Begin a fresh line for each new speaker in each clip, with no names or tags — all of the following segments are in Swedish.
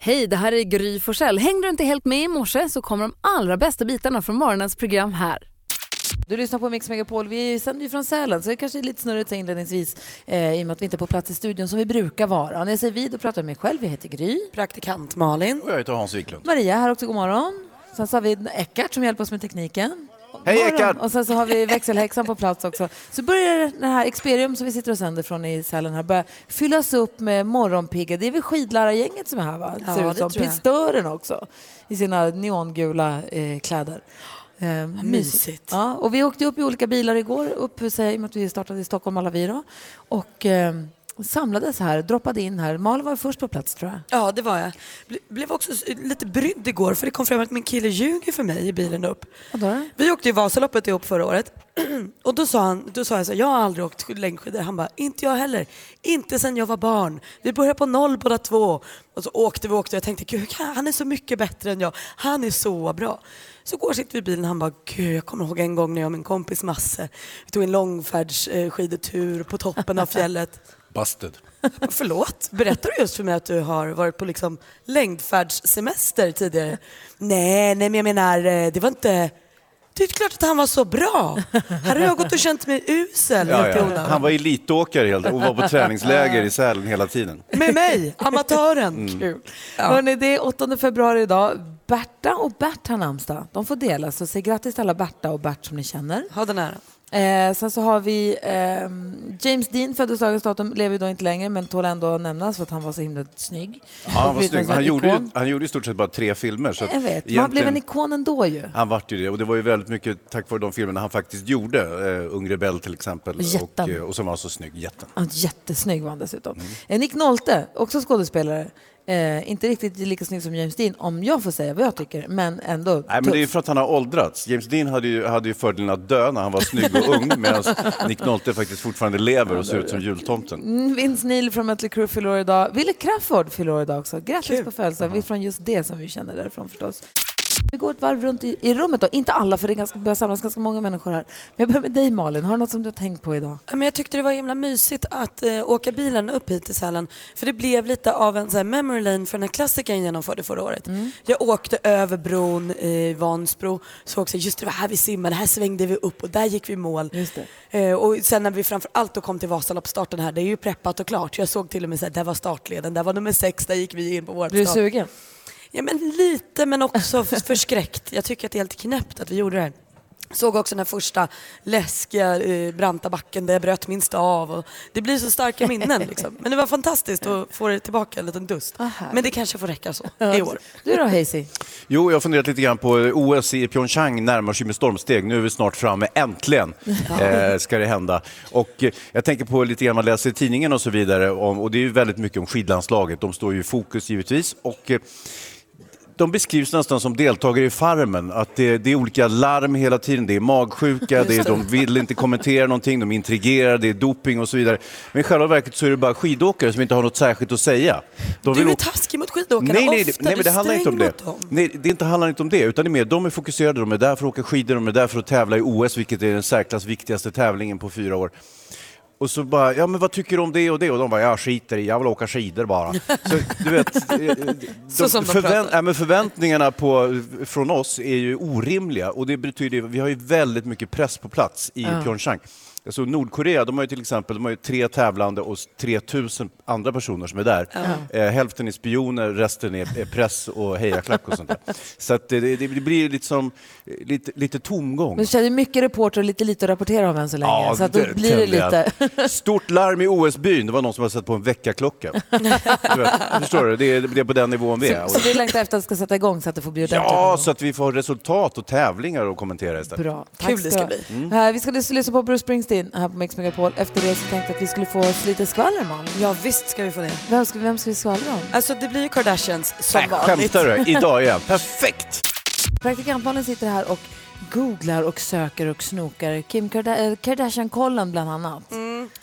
Hej, det här är Gry Forssell. Hängde du inte helt med i morse så kommer de allra bästa bitarna från morgonens program här.
Du lyssnar på Mix Megapol. Vi sänder ju från Sälen, så det kanske är lite snurrigt så här inledningsvis eh, i och med att vi inte är på plats i studion som vi brukar vara. När jag säger vi, då pratar jag med mig själv. Jag heter Gry.
Praktikant Malin.
Och jag heter Hans Wiklund.
Maria här också, god morgon. Sen så har vi Eckart som hjälper oss med tekniken.
Hej,
God morgon.
Eckart!
Och sen så har vi växelhäxan på plats också. Så börjar det här Experium som vi sitter och sänder från i Sälen här börjar fyllas upp med morgonpigga. Det är väl skidlärargänget som är här va?
Ja,
Ser
det
ut som.
tror jag.
Pistören också i sina neongula eh, kläder. Eh,
Mysigt.
Ja, och vi åkte upp i olika bilar igår, upp så här, i och med att vi startade i Stockholm alla vi då. Och eh, samlades här, droppade in här. Malin var först på plats tror jag.
Ja, det var jag. Ble- Blev också s- lite brydd igår för det kom fram att min kille ljuger för mig i bilen upp.
Vadå?
Vi åkte ju Vasaloppet ihop förra året och då sa, han, då sa jag så här, jag har aldrig åkt skid- längdskidor. Han bara, inte jag heller. Inte sen jag var barn. Vi började på noll båda två. Och så åkte vi och åkte och jag tänkte, gud hur kan- han är så mycket bättre än jag. Han är så bra. Så går sitter vi i bilen och han bara, gud jag kommer ihåg en gång när jag och min kompis Masse, vi tog en långfärdsskidetur på toppen av fjället.
Busted.
Förlåt, berättar du just för mig att du har varit på liksom längdfärdssemester tidigare? Nej, nej men jag menar, eh, det var inte... Det är klart att han var så bra. Här har jag gått och känt mig usel
Ja,
helt i
ja.
onödan.
Han var elitåkare helt och var på träningsläger i Sälen hela tiden.
Med mig, amatören.
Mm.
Kul. Hörrni, det är 8 februari idag. Berta och Bert har namnsdag. De får dela, så säg grattis till alla Berta och Bert som ni känner.
Ha den här.
Eh, sen så har vi ehm, James Dean, föddes dagens datum, lever ju då inte längre men tål ändå att nämnas för att han var så himla snygg.
Ja, han, var
Och
snygg.
blev en
han, gjorde ju,
ikon.
han gjorde i stort sett bara tre filmer. Så att
Jag vet, man
egentligen-
blev en ikon ändå ju.
Han vart ju det och det var ju väldigt mycket tack vare de filmerna han faktiskt gjorde. Eh, Ung rebell till exempel.
Jätten.
Och, eh, och som var så snygg, jätten.
Ja, jättesnygg var han dessutom.
Mm.
Eh, Nick Nolte, också skådespelare. Eh, inte riktigt lika snygg som James Dean om jag får säga vad jag tycker, men ändå
Nej, men det är ju för att han har åldrats. James Dean hade ju, hade ju fördelen att dö när han var snygg och ung medan Nick Nolte faktiskt fortfarande lever och ser ut som jultomten.
Mm, Vince Neil från Mötley Crüe fyller år idag. Wille Crawford fyller år idag också. Grattis på födelsedagen. Vi är från just det som vi känner därifrån förstås. Vi går ett varv runt i, i rummet då. Inte alla, för det är ganska, börjar samlas ganska många människor här. Men jag börjar med dig Malin. Har du något som du har tänkt på idag?
Ja, Men jag tyckte det var himla mysigt att eh, åka bilen upp hit till Sälen. För det blev lite av en så här, memory lane för den här klassikern jag genomförde förra året. Jag åkte över bron i Vansbro, såg så här, just det, det var här vi simmade, här svängde vi upp och där gick vi i mål.
Just det.
Eh, och sen när vi framförallt då kom till Vasaloppsstarten här, det är ju preppat och klart. Jag såg till och med så här, där var startleden, där var nummer sex, där gick vi in på vårt
Du är
start.
sugen?
Ja men lite men också f- förskräckt. Jag tycker att det är helt knäppt att vi gjorde det här. Såg också den här första läskiga eh, branta backen där jag bröt min stav. Och det blir så starka minnen liksom. Men det var fantastiskt att få det tillbaka, en liten dust. Men det kanske får räcka så i år.
Du då Hazy?
Jo, jag har funderat lite grann på eh, OS i Pyeongchang närmar sig med stormsteg. Nu är vi snart framme, äntligen eh, ska det hända. Och eh, jag tänker på lite grann, man läser i tidningen och så vidare, om, och det är ju väldigt mycket om skidlandslaget. De står ju i fokus givetvis. Och, eh, de beskrivs nästan som deltagare i Farmen. Att det, det är olika larm hela tiden, det är magsjuka, det är, de vill inte kommentera någonting, de intrigerar, det är doping och så vidare. Men i själva verket så är det bara skidåkare som inte har något särskilt att säga. De
Du
vill
är
åka-
taskig mot skidåkarna
Nej, nej,
ofta.
det- nej
Du
men det
är
handlar inte om
sträng
det.
mot dem.
Nej, det inte, handlar inte om det, utan det är mer, de är fokuserade, de är där för att åka skidor, de är där för att tävla i OS, vilket är den särklass viktigaste tävlingen på fyra år. Och så bara, ja men vad tycker du om det och det? Och de bara, jag skiter i, jag vill åka skidor bara. Så, du vet, eh, eh,
Så som de pratar.
ja, men förväntningarna på, från oss är ju orimliga och det betyder ju, vi har ju väldigt mycket press på plats i Pyeongchang. Alltså Nordkorea, de har ju till exempel de har ju tre tävlande och 3000 andra personer som är där. Eh, hälften är spioner, resten är är press och hejaklack och sånt där. Så att det, det det blir ju liksom, eh, lite, lite tomgång.
Men du känner mycket reporter och lite lite att rapportera om än så länge. så att då
det
blir det
tände
lite...
jag. Stort larm i OS-byn. Det var någon som hade satt på en väckarklocka. Du vet, Förstår du? Det är, det är på den nivån vi är.
Så du längtar efter att det ska sätta igång så att det får bli ordentligt?
Ja, så att vi får resultat och tävlingar att kommentera istället.
Bra.
Kul det ska
ha.
bli.
Eh, Vi ska lys- lyssna på Bruce Springsteen här på Mix Megapol. Efter det så tänkte jag att vi skulle få oss lite skvaller, Malin.
Ja, visst ska vi få det.
Vem ska, vem ska vi skvallra om?
Alltså det blir ju Kardashians som
Nej,
vanligt.
skämtar du? Idag igen. Perfekt!
Praktikantbarnen sitter här och googlar och söker och snokar. Kim Karda- eh, Kardashian-kollen bland annat.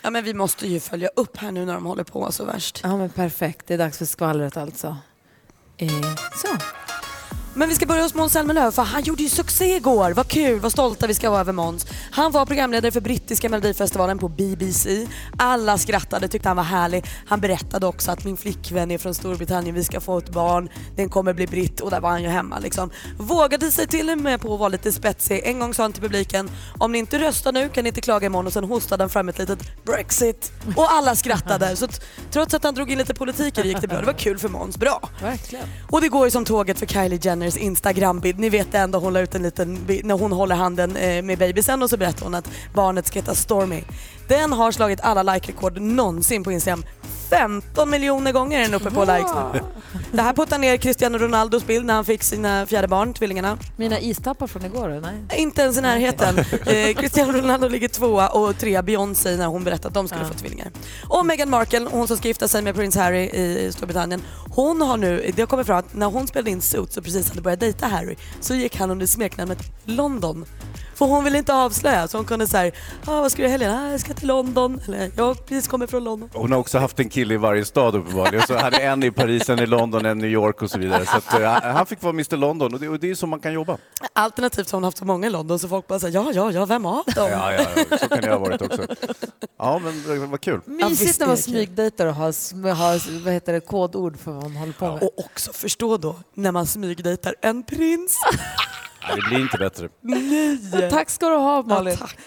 Ja men vi måste ju följa upp här nu när de håller på så värst.
Ja men perfekt, det är dags för skvallret alltså. Eh, så.
Men vi ska börja hos Måns Zelmerlöw för han gjorde ju succé igår. Vad kul, vad stolta vi ska vara över Måns. Han var programledare för brittiska melodifestivalen på BBC. Alla skrattade, tyckte han var härlig. Han berättade också att min flickvän är från Storbritannien, vi ska få ett barn, den kommer bli britt och där var han ju hemma liksom. Vågade sig till och med på att vara lite spetsig. En gång sa han till publiken, om ni inte röstar nu kan ni inte klaga imorgon och sen hostade han fram ett litet Brexit och alla skrattade. Så att, trots att han drog in lite politik i det gick det bra. Det var kul för Måns, bra.
Verkligen.
Och det går ju som tåget för Kylie Jenners Instagram-bild. Ni vet det ändå, hon la ut en liten bild när hon håller handen eh, med bebisen och så berättar hon att barnet ska heta Stormy. Den har slagit alla like-rekord någonsin på Instagram. 15 miljoner gånger är den uppe på likes nu. Det här puttar ner Cristiano Ronaldos bild när han fick sina fjärde barn, tvillingarna.
Mina istappar från igår? eller? Nej.
Inte ens i närheten. Eh, Cristiano Ronaldo ligger tvåa och trea Beyoncé när hon berättade att de skulle
Ja.
få tvillingar. Och Meghan Markle, hon som ska gifta sig med prins Harry i Storbritannien. Hon har nu, det har kommit fram att när hon spelade in Suits och precis hade börjat dejta Harry så gick han under smeknamnet London. För hon ville inte avslöja så hon kunde säga ah, vad ska du i helgen? Ah, jag ska till London. Eller jag precis kommer från London.
Hon har också haft en kille i varje stad uppenbarligen. Så hade en i Paris, en i London, en i New York och så vidare. Så att, eh, han fick vara Mr London och det, och det är så man kan jobba.
Alternativt har hon haft så många i London så folk bara säger ja, ja, ja, vem av dem?
Ja, ja, ja, så kan det ha varit också. Ja, men det var kul.
Ja, visst,
Mysigt
det
när man
är kul.
smygdejtar och har, sm- har vad heter det, kodord för vad man håller på med.
Och också förstå då när man smygdejtar en prins.
Nej, det blir inte bättre.
Tack ska du ha Malin.
Ja, tack.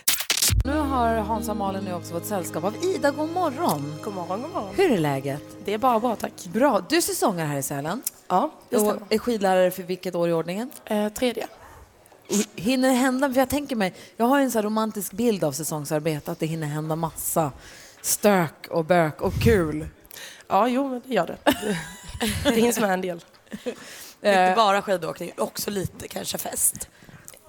Nu har Hansa och Malin nu också fått sällskap av Ida. God morgon.
God morgon, god morgon.
Hur är läget?
Det är bara bra, tack.
Bra. Du är säsongare här i Sälen
Ja, det
och
stämmer.
är skidlärare för vilket år i ordningen?
Eh, tredje.
Och Hinner det hända, för jag tänker mig, jag har en så här romantisk bild av säsongsarbete, att det hinner hända massa stök och bök och kul.
Ja, jo, men det gör det. Det hinns med en del.
Inte bara skidåkning, också lite kanske fest.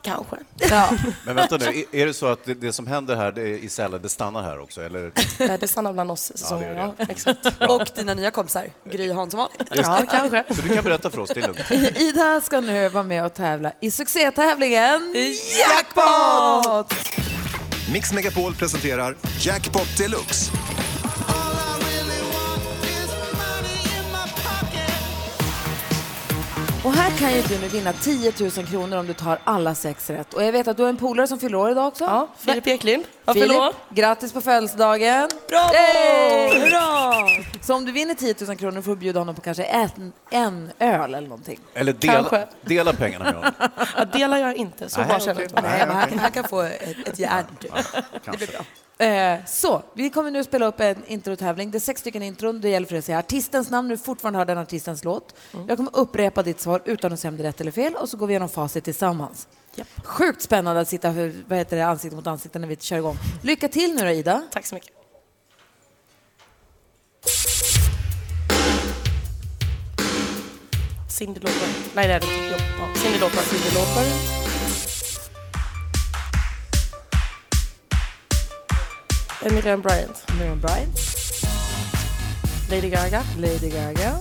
Kanske.
Ja.
Men vänta nu, är- är det så att det, det som händer här det, är i Sälen, det stannar här också? Eller?
Eh, Det stannar bland oss säsongen.
gör det.
Ja, exakt.
Och dina nya kompisar, Gry Hansson
Ja, kanske.
Så du kan berätta för oss, det är lugnt.
Ida ska nu vara med och tävla i succétävlingen Jackpot!
Mix Megapol presenterar Jackpot Deluxe.
Och här kan ju du nu vinna 10 000 kronor om du tar alla sex rätt. Och jag vet att du har en polare som fyller år idag också.
Ja, Filip Eklind. Ja,
Filip,
förlåt.
grattis på födelsedagen!
Bravo!
Yay! Så om du vinner 10 000 kronor får du bjuda honom på kanske en, en öl eller någonting.
Eller dela,
Kanske.
dela pengarna med honom.
Ja, delar jag inte, så bara känner jag.
Nej, men han, han kan få ett, ett järn.
Kanske.
Eh, så, vi kommer nu spela upp en introtävling. Det är sex stycken intron. Det gäller för dig att säga artistens namn, du fortfarande hör den artistens låt. Jag kommer upprepa ditt svar utan att säga om det är rätt eller fel och så går vi igenom facit tillsammans.
Japp.
Sjukt spännande att sitta för, vad heter det, ansikte mot ansikte när vi kör igång. Lycka till nu då, Ida.
Tack så mycket. Cyndi Lauper. Nej, det är det inte. Jo, ja. Cyndi Lauper. Cyndi Lauper. Eh, Miriam Bryant.
Miriam Bryant,
Lady Gaga.
Lady Gaga,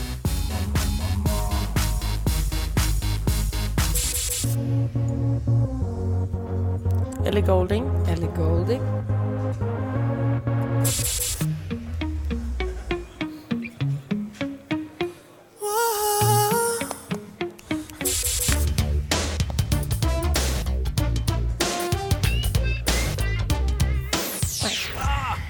Ellie Goulding.
Ellie Goulding,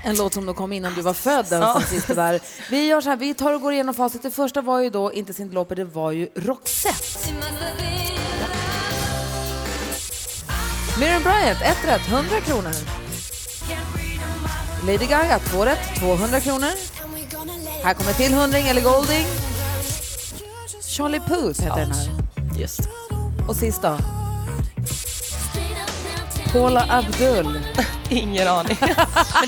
En låt som då kom innan du var född, den som sista där. Vi gör så här, vi tar och går igenom facit. Det första var ju då inte Cyndi Lauper, det var ju Roxette. Miriam Bryant, ett rätt, 100 kronor. Lady Gaga, två rätt, 200 kronor. Här kommer till hundring, eller Golding. Charlie Puth heter den här.
Just
Och sist då? Paula Abdul.
Ingen aning.
Men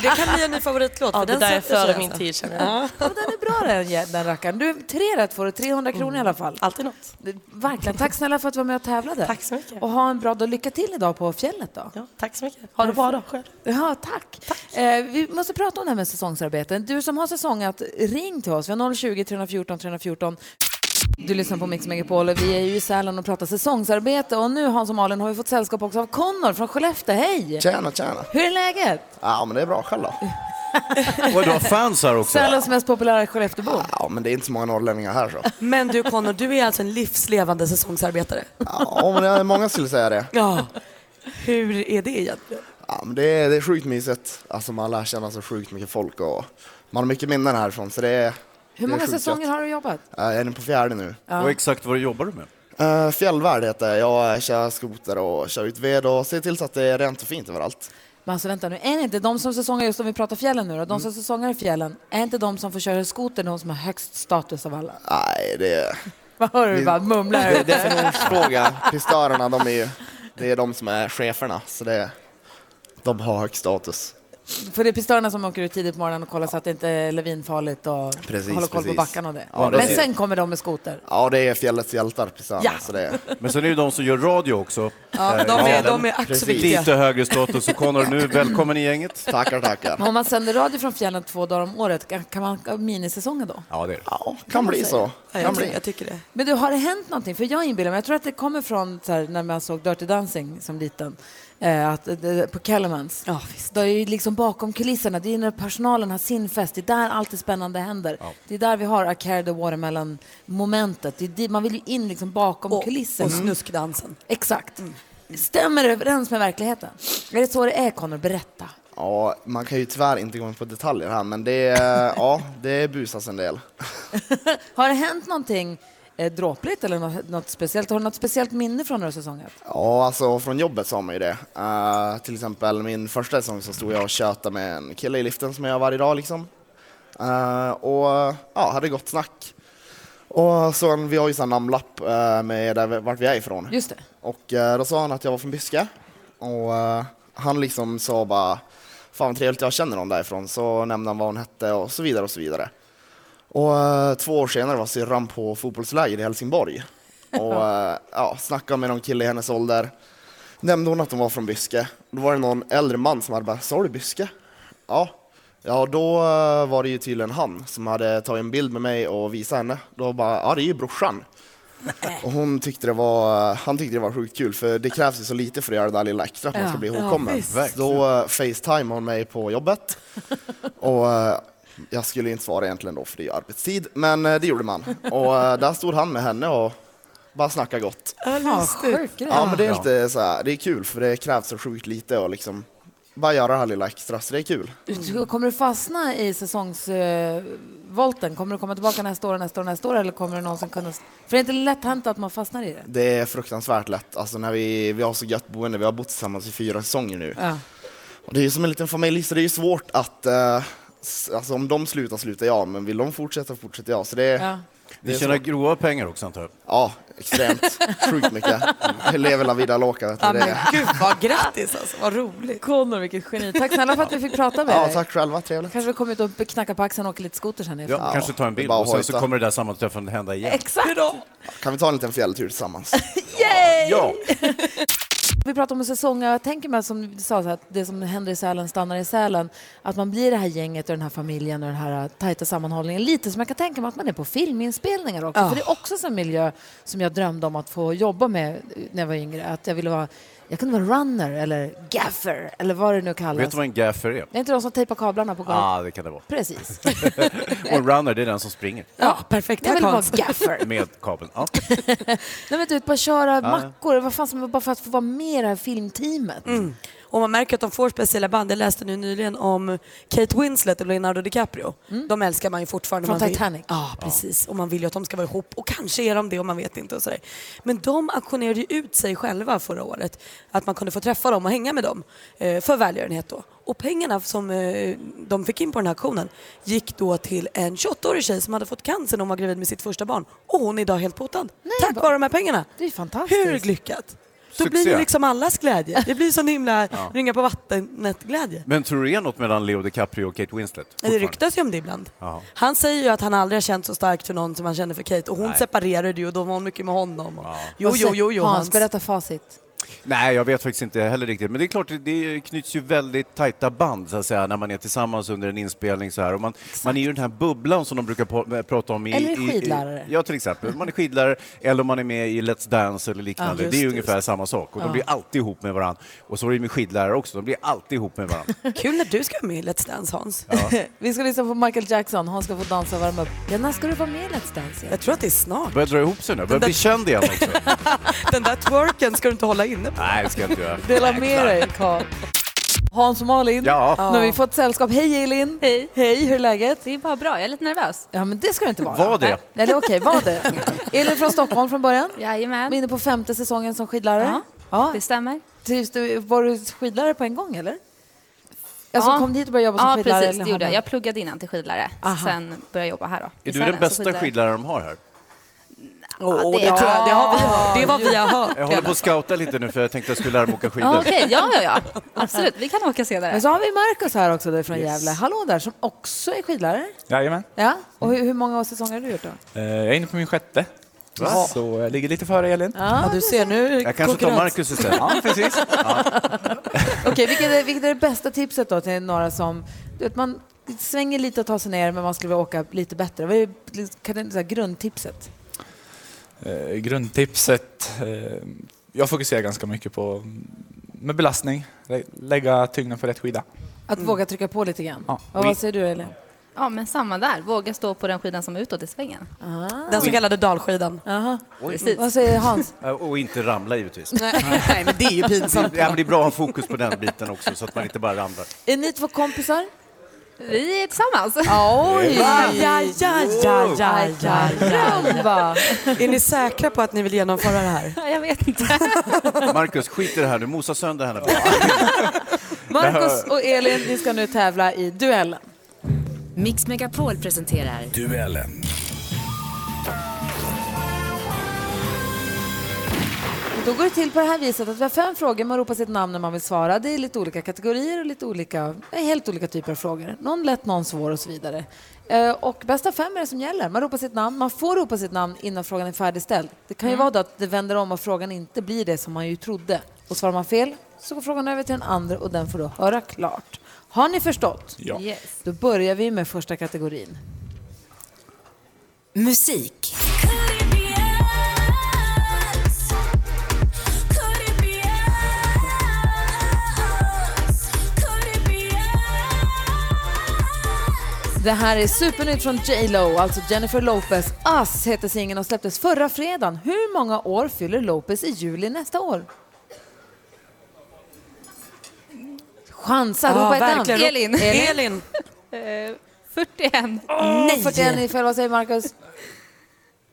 det kan bli en ny favoritlåt.
Ja,
för
det
den
där är
sätter sig
före min
alltså.
tid känner jag.
Ja, men den är bra den, den rackaren. Du, tre rätt får du, 300 kronor i alla fall.
Alltid något.
Det- Verkligen. Tack snälla för att du var med och tävlade.
Mm. Tack så mycket.
Och ha en bra dag. Lycka till idag på fjället då.
Ja, tack så mycket. Ha det bra då. Själv.
Ja, tack. Eh, vi måste prata om det här med säsongsarbeten. Du som har säsongat, ring till oss. Vi har 020 314 314. Du lyssnar på Mix Megapol och vi är ju i Sälen och pratar säsongsarbete. Och nu Hans och Malin har vi fått sällskap också av Connor från Skellefteå. Hej!
Tjena, tjena.
Hur är läget?
Ja, men det är bra själv då.
Och du har fans här också.
Sälens mest populära Skelleftebo.
Ja, men det är inte så många norrlänningar här så.
Men du Connor, du är alltså en livslevande säsongsarbetare.
Ja, men det är många skulle säga det.
Ja. Hur är det egentligen?
Ja, men det, är, det är sjukt mysigt. Alltså man lär känna så sjukt mycket folk och man har mycket minnen härifrån så det är...
Hur många säsonger
har
har du jobbat?
Jag är inne på fjärde nu.
Och exakt vad jobbar du med?
Uh, fjällvärd heter jag. Jag eh, kör skoter och kör ut ved och ser till så att det är rent och fint överallt.
Men alltså vänta nu, är det inte de som säsongar, just om vi pratar fjällen nu då,
Mm.
de som säsongar i fjällen, är inte de som får köra skoter de som har högst status av alla?
Nej, det,
Vad hör du bara mumlar här
det,
ute?
det är en fråga. Pistörerna, de är ju, det är de som är cheferna så det, de har hög status.
För det är pistörerna som åker ut tidigt på morgonen och kollar så att det inte är levinfarligt och
Precis,
håller koll
precis.
på backarna och det.
Ja, det
Men
är-
sen kommer de med skoter.
Ja, det är fjällets hjältar, pistörerna.
Ja.
Så det,
Men sen är det ju de som gör radio också.
Eh,
Eh,
Ja, de är, de är ack så viktiga.
Lite högre status. Så Connor, nu välkommen i gänget.
tackar, tackar.
Men om man sänder radio från fjällen två dagar om året, kan- kan man ha minisäsonger då?
Ja, det är det.
Ja, kan bli så.
Ja,
Kan
jag, ty-
bli.
jag tycker det.
Men du, har det hänt någonting? För jag inbillar mig, jag tror att det kommer från så här, när man såg Dirty Dancing som liten, eh, att, eh, på Kellermans.
Ja, visst.
Det är ju liksom bakom kulisserna, det är ju när personalen har sin fest, det är där allt det spännande händer. Det är där vi har I carry the watermelon momentet, det är dit, man vill ju in liksom bakom
Och,
kulisserna.
och snuskdansen.
Exakt. Stämmer det överens med verkligheten? Är det så det är Connor? Berätta.
Ja, man kan ju tyvärr inte gå in på detaljer här, men det, ja, det busas en del.
Har det hänt någonting eh, dråpligt eller något, något speciellt? Har du något speciellt minne från några säsonger?
Ja, alltså från jobbet sa man ju det. Eh, till exempel min första säsong så stod jag och tjötade med en kille i liften som jag gör varje dag liksom. Eh, och ja, hade gott snack. Och så en, vi har ju sån namnlapp eh, med där, vi- vart vi är ifrån.
Just det.
Och eh, då sa han att jag var från Byske. Och eh, han liksom sa bara, fan vad trevligt jag känner någon därifrån. Så nämnde han vad hon hette och så vidare och så vidare. Och eh, två år senare var syrran på fotbollsläger i Helsingborg. Och eh, ja, snackade med någon kille i hennes ålder. Nämnde hon att de var från Byske. Då var det någon äldre man som hade bara, sa du Byske? Ja. Ja, då eh, var det ju tydligen han som hade tagit en bild med mig och visat henne. Då bara, ja det är ju brorsan. Och hon tyckte det var, han tyckte det var sjukt kul för det krävs ju så lite för att göra det där lilla extra att man ska bli ihågkommen. Så då eh, facetimade hon mig på jobbet och eh, jag skulle ju inte svara egentligen då för det är ju arbetstid, men eh, det gjorde man. Och eh, där stod han med henne och bara snackade gott.
Fan, sjuk grej.
Ja men det är lite så här, det är kul för det krävs så sjukt lite och liksom bara göra det här lilla extra så det är kul.
Du- Kommer du fastna i säsongsvolten? Kommer du komma tillbaka nästa år, nästa år, nästa år? Eller kommer du någonsin kunna... För det är inte lätt hänt att man fastnar i det.
Det är fruktansvärt lätt. Alltså när vi, vi har så gött boende, vi har bott tillsammans i fyra säsonger nu.
Ja.
Och det är ju som en liten familj, så det är ju svårt att... Eh, s- alltså om de slutar, slutar jag, men vill de fortsätta, fortsätter jag. Så det är...
Ja.
Ja.
Ni tjänar grova pengar också, antar jag.
extremt. Sjukt mycket. Jag lever la vida loca. Vet du, det är.
Gud vad grattis alltså, vad roligt.
Connor, vilket geni. Tack snälla för att vi fick prata med
Ja,
dig.
tack själva. Trevligt.
Kanske vi kommer ut och knackar på axeln och åker lite skoter sen. efter.
Ja, kanske ta en
det är
bild
bara
och sen
hojta.
så kommer det där sammanträffandet hända igen.
Exakt!
Kan vi ta en liten fjälltur tillsammans?
Ja.
Vi pratar om säsonger. Jag tänker mig som du sa, så här, att det som händer i Sälen stannar i Sälen. Att man blir det här gänget och den här familjen och den här eh, tajta sammanhållningen. Lite som jag kan tänka mig att man är på filminspelningar också. För det är också en sån miljö som jag drömde om att få jobba med eh, när jag var yngre. Att jag ville vara, jag kunde vara runner eller gaffer eller vad det nu kallas.
Vet du vad en gaffer är?
Det är inte de som tejpar kablarna på golvet?
Ja, ah, det kan det vara.
Precis.
Och en runner, det är den som springer
Ja, perfekt.
Jag vill vara
Hans.
gaffer.
med kabeln. Ja.
Nej men du vet, bara köra mackor. Vad fan som, bara för att få vara med i det här filmteamet.
Mm. Och man märker att de får speciella band. Jag läste nu nyligen om Kate Winslet och Leonardo DiCaprio. De älskar man ju fortfarande.
Mm. Från
man
Titanic.
Vill. Ja, precis. Och man vill ju att de ska vara ihop. Och kanske är de det och man vet inte och sådär. Men de auktionerade ju ut sig själva förra året. Att man kunde få träffa dem och hänga med dem. eh, För välgörenhet då. Och pengarna som eh, de fick in på den här auktionen gick då till en 28-årig tjej som hade fått cancer när hon var gravid med sitt första barn. Och hon är idag helt botad. Tack
vad-
vare de här pengarna.
Det är ju fantastiskt.
Hur lyckat? Då
Succé.
blir det liksom allas glädje. Det blir sån himla ringa på vattnet-glädje.
Men tror du det är något mellan Leo DiCaprio och Kate Winslet?
Det
fortfarande?
ryktas ju om det ibland.
Ja.
Han säger ju att han aldrig har känt så starkt för någon som han känner för Kate och hon separerade ju och då var hon mycket med honom. Och... Jo, jo, jo, jo,
Hans,
Hans.
berätta facit.
Nej, jag vet faktiskt inte heller riktigt. Men det är klart, det knyts ju väldigt tajta band så att säga, när man är tillsammans under en inspelning. Så här. Och man, man är ju i den här bubblan som de brukar pa- prata om. I,
Eller är
i-
skidlärare.
I, ja, till exempel. Man är skidlärare eller om man är med i Let's Dance eller liknande.
Ja,
det är ju
just
ungefär samma sak. Och de blir alltid ihop med varandra. Och så är det ju med skidlärare också. De blir alltid ihop med varandra.
Kul när du ska vara med i Let's Dance Hans.
Vi ska lyssna på Michael Jackson. Han ska få dansa och värma upp. Ja, när ska du vara med i Let's Dance igen?
Jag tror att det är snart.
Börjar dra ihop sig nu. Börjar bli känd igen också.
Den där twerken ska du inte hålla inne på.
Nej, det ska jag inte göra.
Dela med dig, Carl. Hans och Malin,
Ja.
nu har vi fått sällskap. Hej Elin!
Hej.
Hej, hur är läget?
Det är bara bra, jag är lite nervös.
Ja, men det ska det inte vara.
Var det?
Nej, det är okej. Var det? Elin från Stockholm från början. Vi är
Jajamän,
inne på femte säsongen som skidlärare.
Ja.
Ja.
det stämmer.
Trivs du? Var du skidlärare på en gång, eller? Alltså,
Ja.
kom dit och började jobba som
ja,
skidlärare?
precis,
eller
det gjorde jag.
hamnade-
Jag pluggade innan till skidlärare,
Aha.
sen började jag jobba här då.
Är
i
du
Sälen
den
som
bästa
skidlärare.
skidläraren de har här?
Åh, det,
det-
tror jag, det, har vi hört. det är vad vi har hört.
Jag håller på att scouta lite nu för jag tänkte jag skulle lära mig åka skidor.
Ja, okej. Ja, ja, ja. Absolut, vi kan åka senare.
Men så har vi Markus här också då, från Gävle. Hallå där, som också är skidlärare.
Jajamän.
Ja. Och hur, hur många säsonger har du gjort då?
Eh, Jag är inne på min sjätte. Så jag ligger lite före Elin.
Ja, du ser nu.
Jag kanske tar Marcus istället.
Ja, precis.
Okej, vilket, är, vilket är det bästa tipset då till några som... Du vet, man svänger lite och tar sig ner, men man skulle vilja åka lite bättre. Vad är liksom- kan det, så här, grundtipset?
Eh, Grundtipset. eh, Jag fokuserar ganska mycket på mm, med belastning. Lä- Lägga tyngden på rätt skida.
Att
Mm.
våga trycka på lite grann.
Ja.
Och vad säger du, Elin?
Ja, men samma där. Våga stå på den skidan som är utåt i svängen.
Den så kallade dalskidan.
Aha.
Precis.
Vad säger Hans?
Eh, Och inte ramla givetvis.
Nej, men det är ju pinsamt.
Ja, men det är bra att ha fokus på den biten också så att man inte bara ramlar.
Är ni två kompisar?
Vi är tillsammans.
Oj!
Ja, ja, ja, ja, ja, ja, ja.
Rumba.
Är ni säkra på att ni vill genomföra det här?
Ja, Jag vet inte.
Marcus, skit i det här nu. Mosa sönder henne.
Marcus och Elin, ni ska nu tävla i duellen.
Mix Megapol presenterar
Och Då går det till på det här viset att vi har fem frågor, man ropar sitt namn när man vill svara. Det är lite olika kategorier och lite olika, eh, helt olika typer av frågor. Någon lätt, någon svår och så vidare. Eh, Och bäst av fem är det som gäller. Man ropar sitt namn, man får ropa sitt namn innan frågan är färdigställd. Det kan ju vara då att det vänder om och frågan inte blir det som man ju trodde. Och svarar man fel så går frågan över till den andra och den får då höra klart. Har ni förstått?
Ja.
Yes.
Då börjar vi med första kategorin.
musik.
Det här är supernytt från J Lo, alltså Jennifer Lopez. Us heter singeln och släpptes förra fredagen. Hur många år fyller Lopez i juli nästa år? Chansa, ropa ett namn.
verkligen.
Elin.
Elin.
Eh, 41.
Nej. 41 är fel, vad säger Marcus?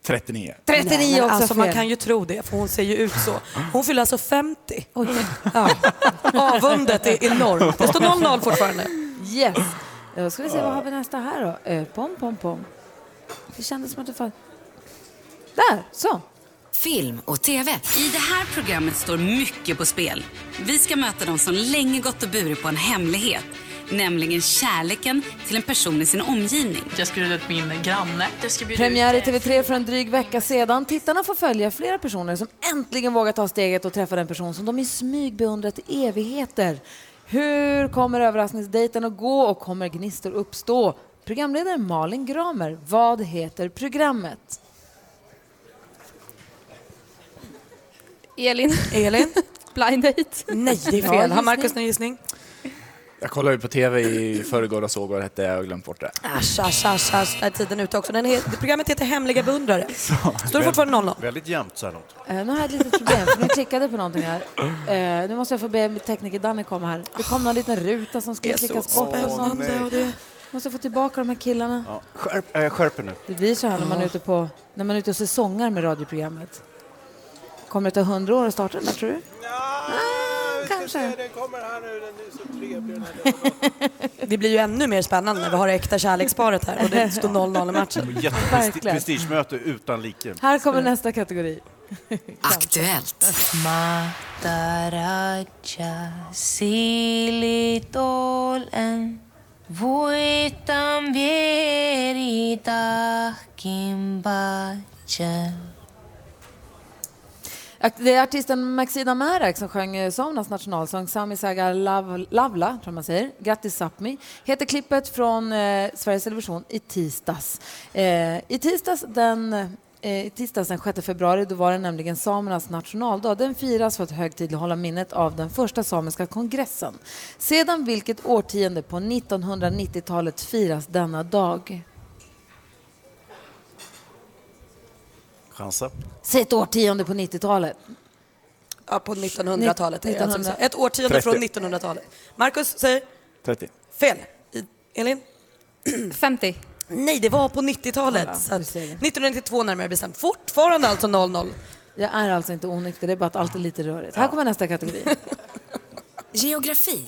39.
39
Nej, men
också
alltså,
fel.
man kan ju tro det, för hon ser ju ut så. Hon fyller alltså 50. Ja. Avundet är enormt. Det står 0-0 fortfarande.
Yes. Då ska vi se, vad har vi nästa här då? Eh, Pom, pom, pom. Det kändes som att det fanns... Där, så.
Film och TV. I det här programmet står mycket på spel. Vi ska möta de som länge gått och burit på en hemlighet. Nämligen kärleken till en person i sin omgivning.
Jag ska bjuda ut min granne. Jag ska bjuda
Premiär i TV3 för en dryg vecka sedan. Tittarna får följa flera personer som äntligen vågar ta steget och träffa den person som de i smyg beundrat i evigheter. Hur kommer överraskningsdejten att gå och kommer gnistor uppstå? Programledaren Malin Gramer, vad heter programmet?
Elin.
Elin?
Blind date.
Mm.
Nej, det är fel. Har Markus någon gissning?
Jag kollade ju på TV i förrgår och såg vad det hette. Jag har glömt bort det.
Asch, asch, asch, asch. Där är tiden ute också. Den he- programmet heter Hemliga beundrare. Står det fortfarande 0-0?
Väldigt jämnt så här långt.
Eh, nu har jag ett litet problem, för nu klickade jag på någonting här. Eh, nu måste jag få be tekniker Danny komma här. Det kom någon liten ruta som skulle klickas bort och sånt. Måste jag få tillbaka de här killarna.
Ja. Skärp, äh, skärp er nu.
Det blir så här när man är ute, på, när man är ute och säsongar med radioprogrammet. Kommer det ta hundra år att starta den där, tror du? ah, kanske.
Det blir ju ännu mer spännande när vi har det äkta kärleksparet här och det står 0-0 i matchen.
Verkligen.
Prestigemöte utan like.
Här kommer nästa kategori.
Aktuellt.
Mataraja silitolen voi vieri tahkin
Ak- Det är artisten Maxida Märak som sjöng eh, samernas nationalsång, Sami Saga Lav- Lavla, tror man säger. Grattis Sápmi, heter klippet från eh, Sveriges Television i tisdags. Eh, I tisdags den eh, i tisdags den 6 februari då var det nämligen samernas nationaldag. Den firas för att högtidlighålla minnet av den första samiska kongressen. Sedan vilket årtionde på 1990-talet firas denna dag?
Chansa.
Säg ett årtionde på 90-talet.
Ja, på 1900-talet. är det alltså vi
1900.
säger. Ett årtionde
30.
från 1900-talet. Markus säger
30.
fel. I- Elin? 50. Nej, det var på 90-talet.
Kolla,
så att-
du ser.
1992 närmare bestämt. Fortfarande alltså 00.
Jag är alltså inte onykter, det är bara att allt är lite rörigt. Här kommer nästa kategori.
Geografi.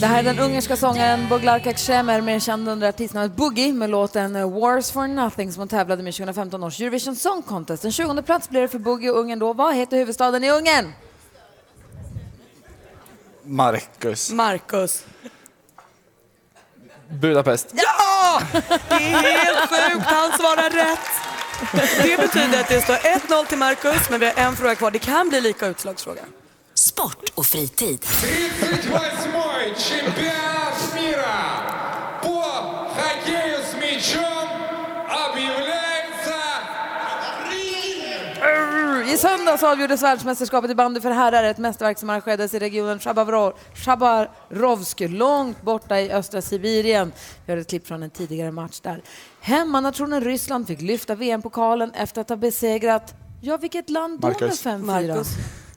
Det här är den ungerska sångaren Boglarka Kremer, mer känd under artistnamnet Boogie, med låten eh, Wars for Nothing som hon tävlade med i 2015 års Eurovision Song Contest. Den 20 plats blev det för Boogie och Ungern då. Vad heter huvudstaden i Ungern?
Marcus.
Marcus.
Budapest.
Ja! Det är helt sjukt, han svarar rätt. Det betyder att det står 1-0 till Marcus, men vi har en fråga kvar. Det kan bli lika utslagsfråga.
Sport och fritid.
38-й чемпионат мира по хоккею с мячом объявляется...
I söndags avgjordes världsmästerskapet i bandy för herrar, ett mästerverk som arrangerades i regionen Chabarov- Chabarovsk, långt borta i östra Sibirien. Vi har ett klipp från en tidigare match där. Hemmanationen Ryssland fick lyfta VM-pokalen efter att ha besegrat, ja vilket land då med
Marcus.
5-4?
Marcus.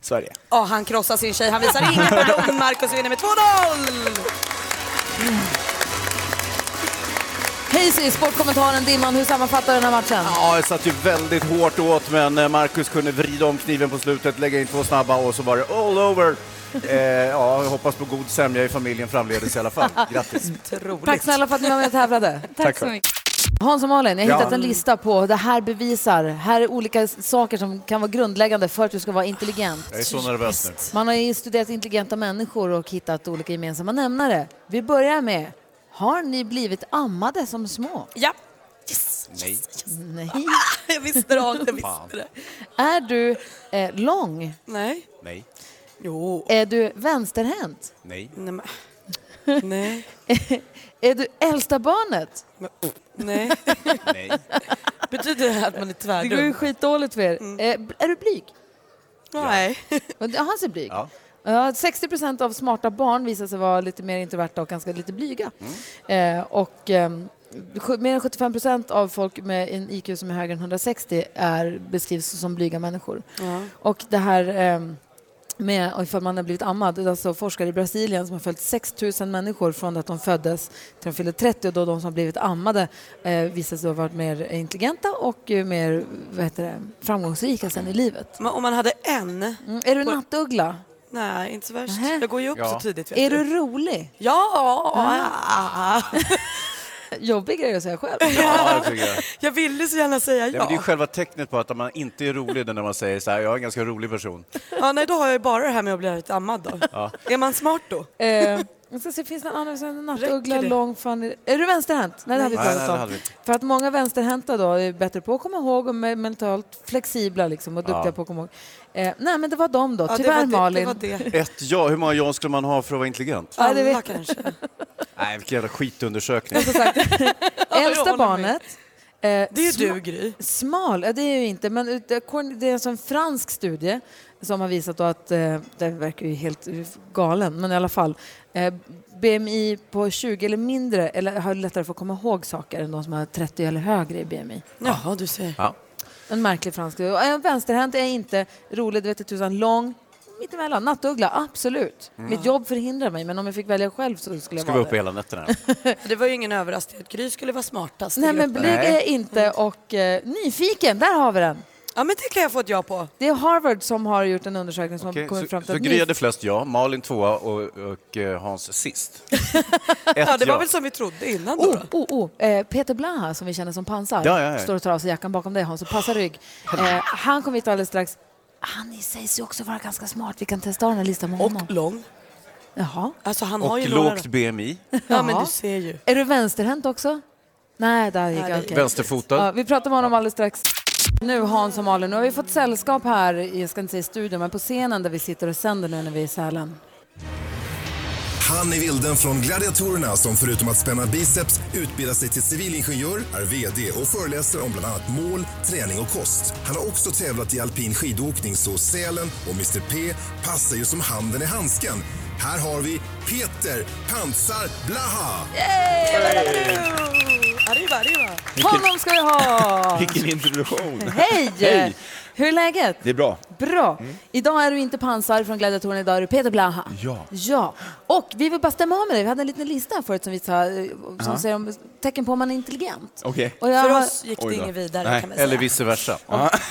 Sverige.
Ja, han krossar sin tjej. Han visar ingen pardon. Marcus vinner med 2-0!
Hayes i sportkommentaren Dimman, hur sammanfattar du den här matchen?
Ja, det satt ju väldigt hårt åt, men eh, Marcus kunde vrida om kniven på slutet, lägga in två snabba och så var det all over. Eh, ja, jag hoppas på god sämja i familjen framledes i alla fall. Grattis.
Tack snälla för att ni var med och tävlade.
Tack så mycket.
Hans och Malin, jag har
Ja.
hittat en lista på det här bevisar, här är olika saker som kan vara grundläggande för att du ska vara intelligent.
Jag är så nervös nu.
Man har ju studerat intelligenta människor och hittat olika gemensamma nämnare. Vi börjar med, har ni blivit ammade som små?
Ja. Yes,
Nej.
Nej.
Jag visste det, Hans. Jag visste det.
Är du eh, lång?
Nej.
Nej.
Jo.
Är du vänsterhänt?
Nej.
Nej. men- Nej.
är du äldsta barnet?
Nej. Betyder det att man är
Det går ju
tvärdum?
skitdåligt för er. Eh, är du blyg?
Nej.
Ja, han ser blyg. Ja. 60 procent av smarta barn visar sig vara lite mer introverta och ganska lite blyga. Eh, och ehm, sju- mer än 75 procent av folk med en IQ som är högre än 160 är, beskrivs som blyga människor.
Ja.
Och det här ehm, med och ifall man har blivit ammad, det är alltså forskare i Brasilien som har följt 6 000 människor från att de föddes till de fyllde 30 och då de som har blivit ammade eh, visar sig ha varit mer intelligenta och eh, mer vad heter det, framgångsrika sen i livet.
Men om man hade en...
är du nattuggla?
Nej, inte så värst. Jag går ju upp
Ja.
så tidigt. vet
Är
Typ.
du rolig?
Ja!
Jobbig grej att säga själv.
Ja, det tycker jag.
Jag ville så gärna säga
Ja, men det är ju
ja.
själva tecknet på att man inte är rolig det är när man säger så här, jag är en ganska rolig person.
ja nej, då har jag ju bara det här med att bli lite ammad då.
Ja.
Är man smart då?
Eh, jag ska se, finns det någon annan? som är en Nattuggla,
Räcker det?
lång fan... Är du vänsterhänt? Nej, det hade vi
Nej, nej,
pratat
det
om.
hade vi inte.
För att många vänsterhänta då är bättre på att komma ihåg och me- mentalt flexibla liksom och duktiga
Ja.
på att komma ihåg. Eh, nej, men det var de då.
Ja, det
Tyvärr,
var det- det
Malin.
var det.
Ett ja, hur många ja skulle man ha för att vara intelligent?
Ja, det
Alla
vet-
kanske.
Nej, vilken jävla skitundersökning.
Äldsta barnet. eh, det
är du, Gry.
Smal, ja, det är ju inte, men ut- det korn- det är alltså en fransk studie som har visat då att, eh, det verkar ju helt eh, galen, men i alla fall, eh, BMI på 20 eller mindre eller har lättare för att komma ihåg saker än de som har 30 eller högre i BMI.
Jaha, du ser.
Ja.
En märklig fransk studie. Och en vänsterhänt är inte rolig, det vet jag tusan, lång, mittemellan, nattuggla, absolut.
Mm.
Mitt jobb förhindrar mig, men om jag fick välja själv så skulle jag
Ska
vara
vara
det.
uppe hela nätterna.
Det var ju ingen överraskning att Gry skulle vara smartast i
Nej, men
gruppen.
blyg är jag inte och eh, nyfiken, där har vi den.
Ja, men det kan jag få ett ja på.
Det är Harvard som har gjort en undersökning som
Okej,
har kommit
så-
fram till
Så
att
Gry
nyf-
hade flest ja, Malin tvåa och, och eh, Hans sist. Ett
Ja, det var
ja.
väl som vi trodde innan då.
Oh, oh, oh. Eh, Peter Blaha, som vi känner som pansar,
Ja, ja, ja.
står och tar av sig jackan bakom dig, Hans, och passar rygg. Eh, han kommer Oh. hit alldeles strax. Han sägs ju också vara ganska smart. Vi kan testa den här listan med honom.
Och lång.
Jaha.
Alltså han har
Och
ju
lågt BMI.
Ja, men du ser ju.
Är du vänsterhänt också? Nej, där gick
Nej,
jag.
det-
okej.
Vänsterfotad.
Ja, vi pratar med honom alldeles strax. Nu Hans och Malin, nu har vi fått sällskap här, i- jag ska inte säga i studion, men på scenen där vi sitter och sänder nu när vi är i Sälen.
Hanni Wilden från Gladiatorerna som förutom att spänna biceps utbildar sig till civilingenjör, är VD och föreläser om bland annat mål, träning och kost. Han har också tävlat i alpin skidåkning så Sälen och Mr P passar ju som handen i handsken. Här har vi Peter Pansar Blaha!
Arriba, arriba.
Honom ska vi ha!
Vilken introduktion!
Hej!
Hej!
Hur är läget?
Det är bra.
Bra. Idag är du inte Pansar från Gladiatorerna, idag är du Peter Blaha.
Ja.
Ja. Och vi vill bara stämma av med dig. Vi hade en liten lista här förut som vi sa, eh, som
Ja.
säger om tecken på om man är intelligent.
Okej.
Och jag
För
har-
oss gick det
Oj då.
inget vidare
Nej,
kan man säga.
Eller vice versa.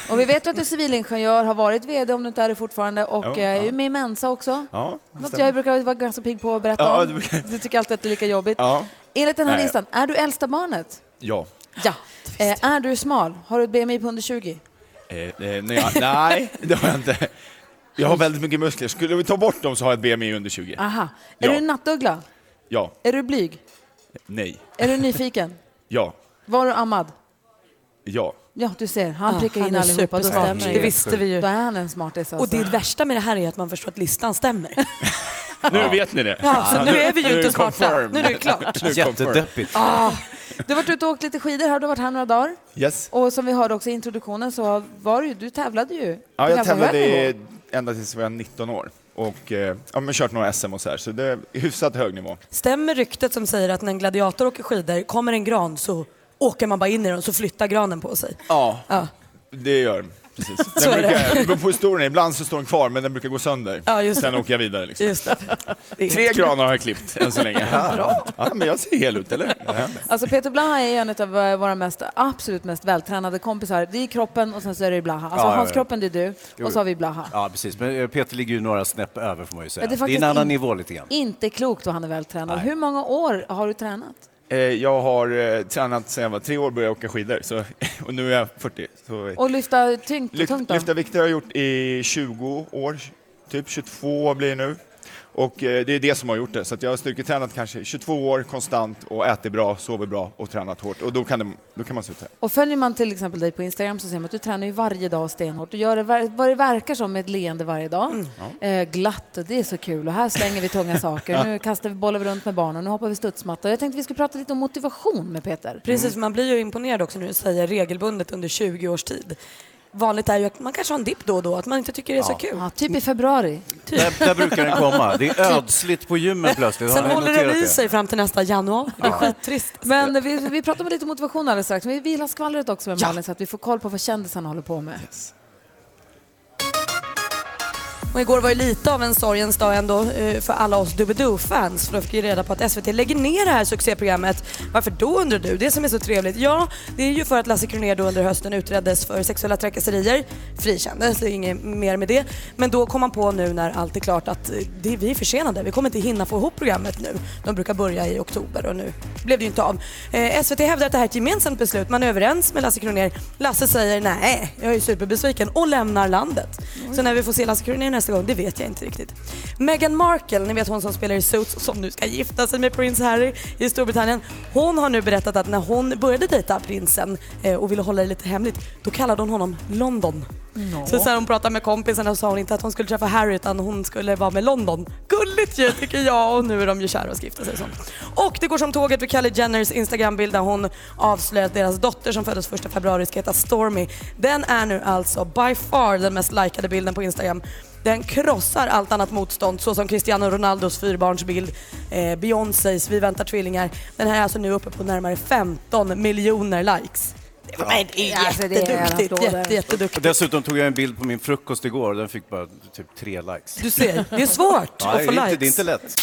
Och vi vet ju att du är civilingenjör, har varit VD om du inte är det fortfarande och
Jo,
eh, är ju med i Mensa också.
Ja, det
Något
stämmer.
jag brukar vara ganska pigg på att berätta
Ja,
om.
det
Du,
brukar-
tycker alltid att det är lika jobbigt.
Ja.
Enligt den här
Nej.
listan, är du äldsta barnet?
Ja.
Ja. Eh, är du smal? Har du ett BMI på under 20?
Eh, eh, nej, nej, det har jag inte. Jag har väldigt mycket muskler. Skulle vi ta bort dem så har jag ett BMI under 20.
Aha. Är
Ja.
du en nattuggla?
Ja.
Är du blyg?
Nej.
Är du nyfiken?
Ja.
Var du ammad?
Ja.
Ja, du ser. Han
Ja,
prickar
han
in
är
allihopa. Då
superstämmer.
stämmer
Det visste vi ju.
Då är han en smartis. Alltså.
Och det värsta med det här är att man förstår att listan stämmer.
Nu vet ni det.
Ja, så nu är vi ju
Nu
inte smarta.
confirmed.
Nu är det klart.
Nu är det confirmed.
Jättedeppigt.
Ah, du har varit ute och åkt lite skidor här, du har varit här några dagar.
Yes.
Och som vi hörde också i introduktionen så var du ju, du tävlade ju.
Ja,
på
jag
ganska hög
tävlade
nivå.
i- ända tills jag var 19 år och eh, ja, men kört några SM och så här, så det är hyfsat hög nivå.
Stämmer ryktet som säger att när en gladiator åker skidor, kommer en gran så åker man bara in i den så flyttar granen på sig.
Ja,
Ja.
det gör den. Precis.
Så
Den
är det.
brukar, det beror på hur stor den är. Ibland så står den kvar, men den brukar gå sönder.
Ja, just
Sen
det.
åker jag vidare. Liksom.
Just det. Det är
Tre
helt
granar har jag klippt än så länge.
Bra.
Ja, men jag ser hel ut, eller? Ja.
Alltså Peter Blaha är en av eh, våra mest, absolut mest vältränade kompisar. Det är kroppen och sen så är det Blaha. Alltså
Ja, ja, ja.
hans kroppen, det är du.
Jo.
Och så har vi Blaha.
Ja, precis. Men eh, Peter ligger ju några snäpp över får man ju säga.
Ja,
Det är,
faktiskt
en annan
in-
nivå lite grann.
Inte klokt vad han är vältränad.
Nej.
Hur många år har du tränat?
Eh, Jag har eh, tränat sedan jag var tre år och började åka skidor, så, och nu är jag 40. Så,
Och lyfta tyngt och
Lyft,
tungt då?
lyfta vikter har jag gjort i 20 år, typ 22 blir det nu. Och eh, det är det som har gjort det. Så att jag har styrketränat kanske 22 år konstant och ätit bra, sovit bra och tränat hårt. Och då kan, det, då kan man se ut så här.
Och följer man till exempel dig på Instagram så ser man att du tränar ju varje dag stenhårt. Du gör det, ver- vad det verkar som med ett leende varje dag. Eh, glatt och det är så kul. Och här slänger vi tunga saker. Nu kastar vi bollar runt med barnen. Nu hoppar vi studsmatta. Jag tänkte vi skulle prata lite om motivation med Peter.
Precis, man blir ju imponerad också när du säger regelbundet under 20 års tid. Vanligt är ju att man kanske har en dipp då och då, att man inte tycker det är så
Ja.
kul.
Ja, typ i februari.
Där, där brukar den komma. Det är ödsligt på gymmen plötsligt. Har
Sen
ni
håller den
noterat
i sig fram till nästa januari. Det är skittrist.
Men vi, vi pratar om lite motivation alldeles strax. Men vi vill ha skvallret också med
Ja.
Malin så att vi får koll på vad kändisarna håller på med.
Och igår var ju lite av en sorgens dag ändå eh, för alla oss Doobidoo-fans. För då fick vi reda på att SVT lägger ner det här succéprogrammet. Varför då undrar du? Det som är så trevligt. Ja, det är ju för att Lasse Kronér då under hösten utreddes för sexuella trakasserier. Frikändes, det är inget mer med det. Men då kom man på nu när allt är klart att eh, det, vi är försenade. Vi kommer inte hinna få ihop programmet nu. De brukar börja i oktober och nu blev det ju inte av. Eh, SVT hävdar att det här är ett gemensamt beslut. Man är överens med Lasse Kronér. Lasse säger nej, jag är superbesviken och lämnar landet. Så när vi får se Lasse Kronér nästa gång, det vet jag inte riktigt. Meghan Markle, ni vet hon som spelar i Suits och som nu ska gifta sig med prins Harry i Storbritannien. Hon har nu berättat att när hon började dejta prinsen eh, och ville hålla det lite hemligt, då kallade hon honom London. Så sen hon pratade med kompisarna sa hon inte att hon skulle träffa Harry utan hon skulle vara med London. Gulligt ju tycker jag och nu är de ju kära och ska gifta sig. och sånt. Och det går som tåget för Kylie Jenners Instagrambild där hon avslöjar att deras dotter som föddes 1 februari ska heta Stormy. Den är nu alltså by far den mest likade bilden på Instagram. Den krossar allt annat motstånd såsom Cristiano Ronaldos fyrbarnsbild, eh, Beyoncés Vi väntar tvillingar. Den här är alltså nu uppe på närmare 15 miljoner likes. Det var- men det är
Alltså, det är
jätteduktigt,
applåder.
jätte, jätteduktigt.
Och dessutom tog jag en bild på min frukost igår och den fick bara typ tre likes.
Du ser, det är svårt
Ja,
att få
det
likes.
är inte, det är inte lätt.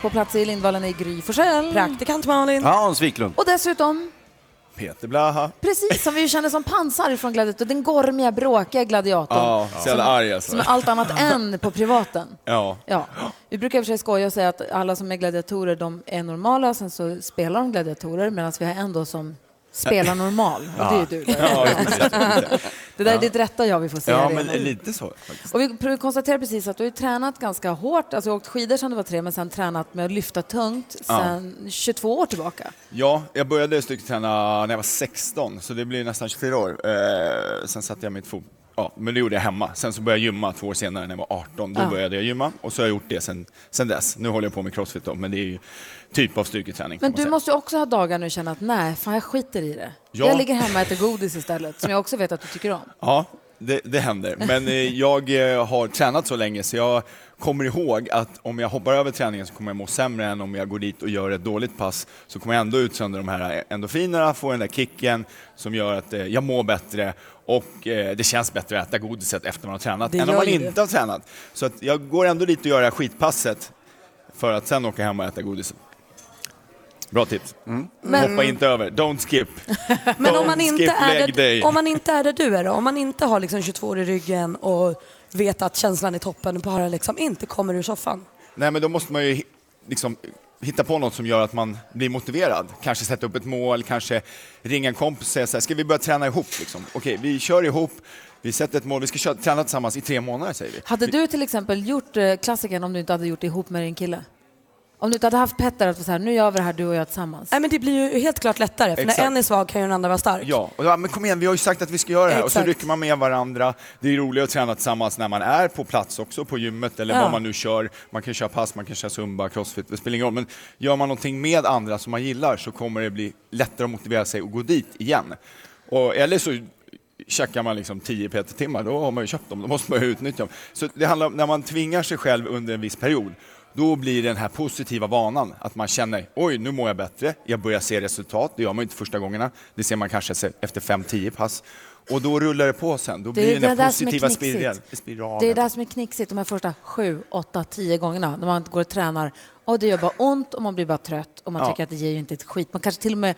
På plats i Lindvallen är Gry Forssell.
Praktikant Malin.
Ja, Hans Wiklund.
Och dessutom,
Peter Blaha.
precis som vi ju kände som pansar från gladiator, den gormiga, bråkiga gladiatorn.
Ja, så jävla arg
Som
alltså.
är allt annat än på privaten.
Ja.
Ja. Vi brukar i och för sig skoja och säga att alla som är gladiatorer de är normala, sen så spelar de gladiatorer, medan vi har en då som Spela normal. Och det är ju du.
Ja, precis.
det där är ditt rätta jag, vi får se
Ja,
det.
men lite så. faktiskt.
Och vi pr- konstaterar precis att du har ju tränat ganska hårt, alltså åkt skidor sedan du var tre, men sen tränat med att lyfta tungt
Ja.
sedan 22 år tillbaka.
Ja, jag började styrketräna när jag var 16, så det blir nästan 24 år. Eh, sen satte jag mitt fot... Ja, men det gjorde jag hemma. Sen så började jag gymma två år senare, när jag var 18. Då
Ja.
började jag gymma och så har jag gjort det sen, sen dess. Nu håller jag på med crossfit då, men det är ju typ av styrketräning.
Men
kan man
du
säga.
måste ju också ha dagar nu och känna att nej, fan jag skiter i det.
Ja.
Jag ligger hemma och äter godis istället, som jag också vet att du tycker om.
Ja, det, det händer. Men eh, jag eh, har tränat så länge så jag kommer ihåg att om jag hoppar över träningen så kommer jag må sämre än om jag går dit och gör ett dåligt pass. Så kommer jag ändå utsöndra de här endorfinerna, få den där kicken som gör att eh, jag mår bättre och eh, det känns bättre att äta godiset efter man har tränat
Det
än om
gör
man
ju
inte
det.
har tränat. Så att jag går ändå dit och gör det här skitpasset för att sen åka hem och äta godiset. Bra tips.
Men-
Hoppa inte över. Don't skip.
Men om
Don't
man, inte
skip
är
leg day.
där, om man inte är där du är då? Om man inte har liksom 22 år i ryggen och vet att känslan i toppen bara liksom inte kommer ur soffan.
Nej, men då måste man ju hi- liksom hitta på något som gör att man blir motiverad. Kanske sätta upp ett mål, kanske ringa en kompis och säga så här, ska vi börja träna ihop? Liksom? Okej, vi kör ihop, vi sätter ett mål, vi ska köra, träna tillsammans i tre månader säger vi.
Hade
Vi-
du till exempel gjort eh, klassiken om du inte hade gjort det ihop med din kille? Om du inte hade haft Petter att vara så här, nu gör vi det här du och jag tillsammans.
Nej men det blir ju helt klart lättare för
Exakt.
när en är svag kan ju den andra vara stark.
Ja, och då, men kom igen, vi har ju sagt att vi ska göra det här. Och så
Exakt.
rycker man med varandra. Det är roligt att träna tillsammans när man är på plats också, på gymmet eller
Ja.
vad man nu kör. Man kan köra pass, man kan köra zumba, crossfit, det spelar ingen roll. Men gör man någonting med andra som man gillar så kommer det bli lättare att motivera sig och gå dit igen. Och, eller så checkar man liksom 10 PT-timmar, då har man ju köpt dem, då måste man ju utnyttja dem. Så det handlar om, när man tvingar sig själv under en viss period, då blir den här positiva vanan att man känner, oj nu mår jag bättre, jag börjar se resultat, det gör man ju inte första gångerna, det ser man kanske se- efter 5-10 pass. Och då rullar det på sen, då
Det är
blir
det
det den här
där som är
positiva
knixigt.
spiral- spiralen.
Det är det här som är knixigt, de här första sju, åtta, tio gångerna när man går och tränar. Och det gör bara ont och man blir bara trött och man
Ja.
tycker att det ger ju inte ett skit. Man kanske till och med,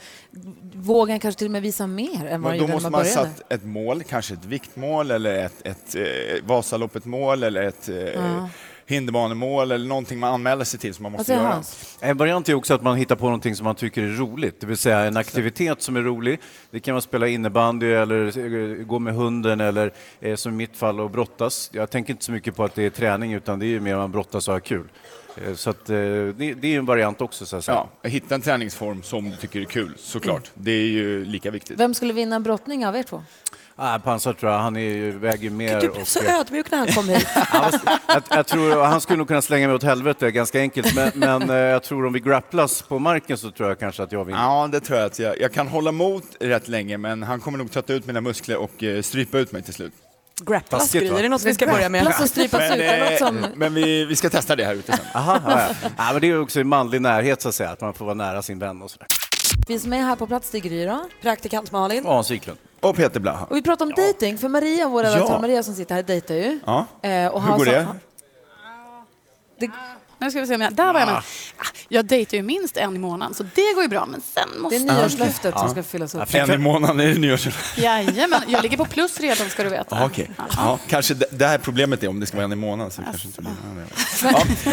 vågar kanske till och med visa mer än vad man
Men då
gjorde när
måste
man
man
började.
satt ett mål, kanske ett viktmål eller ett, ett eh, Vasaloppet-mål eller ett eh,
Ja.
hinderbanemål eller någonting man anmäler sig till som man
Vad
måste
säger
göra.
Hans?
En variant är också att man hittar på någonting som man tycker är roligt, det vill säga en aktivitet som är rolig. Det kan vara spela innebandy eller eh, gå med hunden eller eh, som i mitt fall att brottas. Jag tänker inte så mycket på att det är träning utan det är ju mer att man brottas och har kul. Eh, Så att, eh, det, det är ju en variant också. Så att säga.
Ja, hitta en träningsform som du tycker är kul, såklart.
Mm.
Det är ju lika viktigt.
Vem skulle vinna en brottning av er två?
Ah, pansar tror jag, han är ju, väger ju mer.
Du
typ
blev
och-
så ödmjuk när han kom hit.
jag, jag tror, han skulle nog kunna slänga mig åt helvete ganska enkelt, men, men eh, jag tror om vi grapplas på marken så tror jag kanske att jag vinner.
Ja, det tror jag att jag, jag kan hålla emot rätt länge, men han kommer nog trötta ut mina muskler och eh, strypa ut mig till slut.
Grapplas,
Taskigt,
Gry,
va?
är det något vi ska börja med? Grapplas och strypas ut, är
eh,
det något som-
men vi, vi ska testa det här ute sen.
Aha, ja, ja. ja, men det är ju också i manlig närhet så att säga, att man får vara nära sin vän och sådär.
Vi som är här på plats, det är Gry då.
alltså.
Praktikant Malin.
Och Hans Wiklund.
Och Peter Blaha.
Och vi pratar om dating för Maria, vår
Ja.
redaktör Maria som sitter här, dejtar ju.
Ja.
Eh, och
Hur
han
går
sa-
det?
det...
Nu ska vi se om jag... Där var jag med. Ah, Jag dejtar ju minst en i månaden, så det går ju bra. Men sen måste...
Det är nyårslöftet som ska fyllas upp.
En i månaden är det nyårs...
Jajamän, jag ligger på plus redan ska du veta.
Ah, Okej. Ja, kanske det, det här problemet är om det ska vara en i månaden så kanske inte blir ja.
Alltså.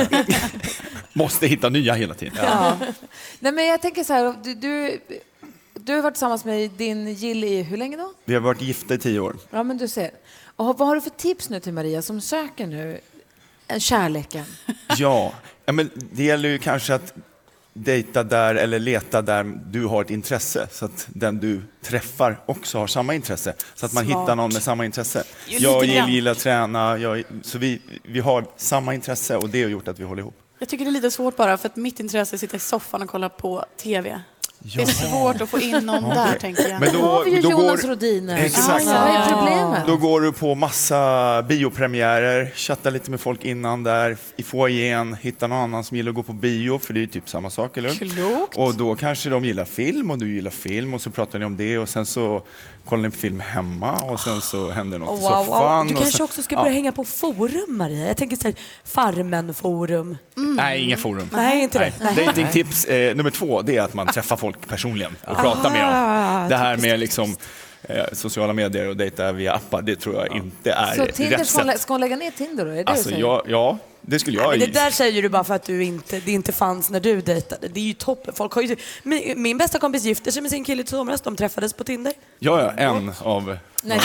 Måste hitta nya hela tiden.
Ja. Nej, men jag tänker så här, du, du, du har varit tillsammans med din Jill i hur länge då?
Vi har varit gifta i tio år.
Ja, men du ser. Och vad har du för tips nu till Maria som söker nu eh, kärleken?
Ja, ja men det gäller ju kanske att dejta där eller leta där du har ett intresse så att den du träffar också har samma intresse. Så att man
Smart.
hittar någon med samma intresse.
Jo,
Jag
lite grann.
gillar att träna, jag, så vi, vi har samma intresse och det har gjort att vi håller ihop.
Jag tycker det är lite svårt bara, för att mitt intresse är att sitta i soffan och kolla på TV. Det är
Ja.
svårt att få in någon
Okej.
där, tänker jag.
Men då- Då har vi ju då Jonas går-
Rodiner.
Exakt.
Ja, vad är problemet?
Då går du på massa biopremiärer, chattar lite med folk innan där, i foajén, hittar någon annan som gillar att gå på bio, för det är ju typ samma sak, eller hur?
Klokt.
Och då kanske de gillar film och du gillar film och så pratar ni om det och sen så kollar ni på film hemma och sen så händer något
Oh,
i
wow,
soffan.
wow. Du
och
kanske
sen,
också ska börja hänga på forum Maria. Jag tänker såhär, Farmen-forum. Mm.
Nej, inga forum.
Nej, inte det. Nej.
Datingtips eh, nummer två, det är att man träffar folk personligen och pratar med
Ah,
dem. Det här med liksom, eh, sociala medier och dejta via appar, det tror jag inte är
Så
rätt
Tinder, ska hon,
sätt.
lä- ska hon lägga ner Tinder då? Är det det du
Alltså,
säger?
jag, ja, Det skulle
Nej,
jag
men
ju-
det där säger du bara för att du inte, det inte fanns när du dejtade. Det är ju toppen. Folk har ju, min, min bästa kompis gifte sig med sin kille i somras. De träffades på Tinder.
Ja, ja, en av...
Nej,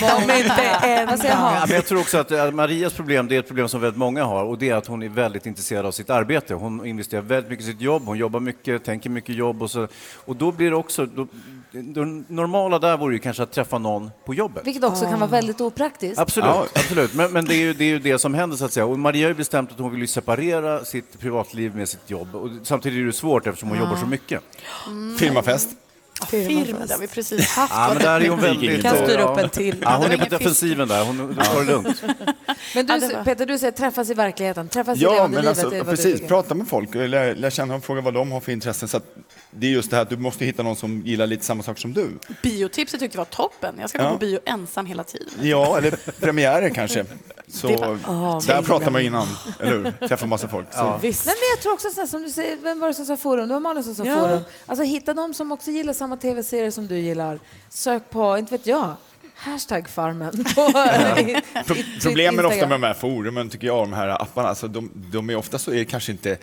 de är Alltså, inte en.
Vad säger Hans?
Ja, men jag tror också att eh, Marias problem, det är ett problem som väldigt många har och det är att hon är väldigt intresserad av sitt arbete. Hon investerar väldigt mycket i sitt jobb, hon jobbar mycket, tänker mycket jobb och så. Och då blir det också, då, det normala där vore ju kanske att träffa någon på jobbet.
Vilket också kan
Ah.
vara väldigt opraktiskt.
Absolut, absolut. Men, men det, är ju, det är ju det som händer så att säga. Och Maria har ju bestämt att hon vill ju separera sitt privatliv med sitt jobb. Och samtidigt är det svårt eftersom hon
Ja.
jobbar så mycket.
Mm.
Firmafest.
Ah,
Firma, det har vi precis haft.
Ja, men där är hon väldigt...
Kan styra
ja.
upp en till.
Ja, hon
Det
är
var
på
ingen
defensiven där. Hon hon tar det lugnt.
Men du,
Ja, det var-
Peter, du säger träffas i verkligheten, träffas i
Ja,
levande
men
livet.
alltså,
det är vad du
precis.
tycker.
Prata med folk och lär, lär känna dem, fråga vad de har för intressen. Så att det är just det här att du måste hitta någon som gillar lite samma saker som du.
Biotipset tyckte jag var toppen. Jag ska gå
Ja.
på bio ensam hela tiden.
Ja, eller premiärer kanske. Så
Det var-
Ah,
Ja,
där
men-
pratar man innan, eller hur? Träffar massa folk. Så.
Visst. Nej, men jag tror också så här, som du säger, vem var det som sa forum? Det var Malin som sa
Ja.
forum. Alltså hitta de som också gillar samma tv-serier som du gillar. Sök på, inte vet jag, hashtag farmen. På,
Pro- Problemen ofta
Instagram.
med de här forumen, tycker jag, de här apparna, alltså de, de är ofta så är det kanske inte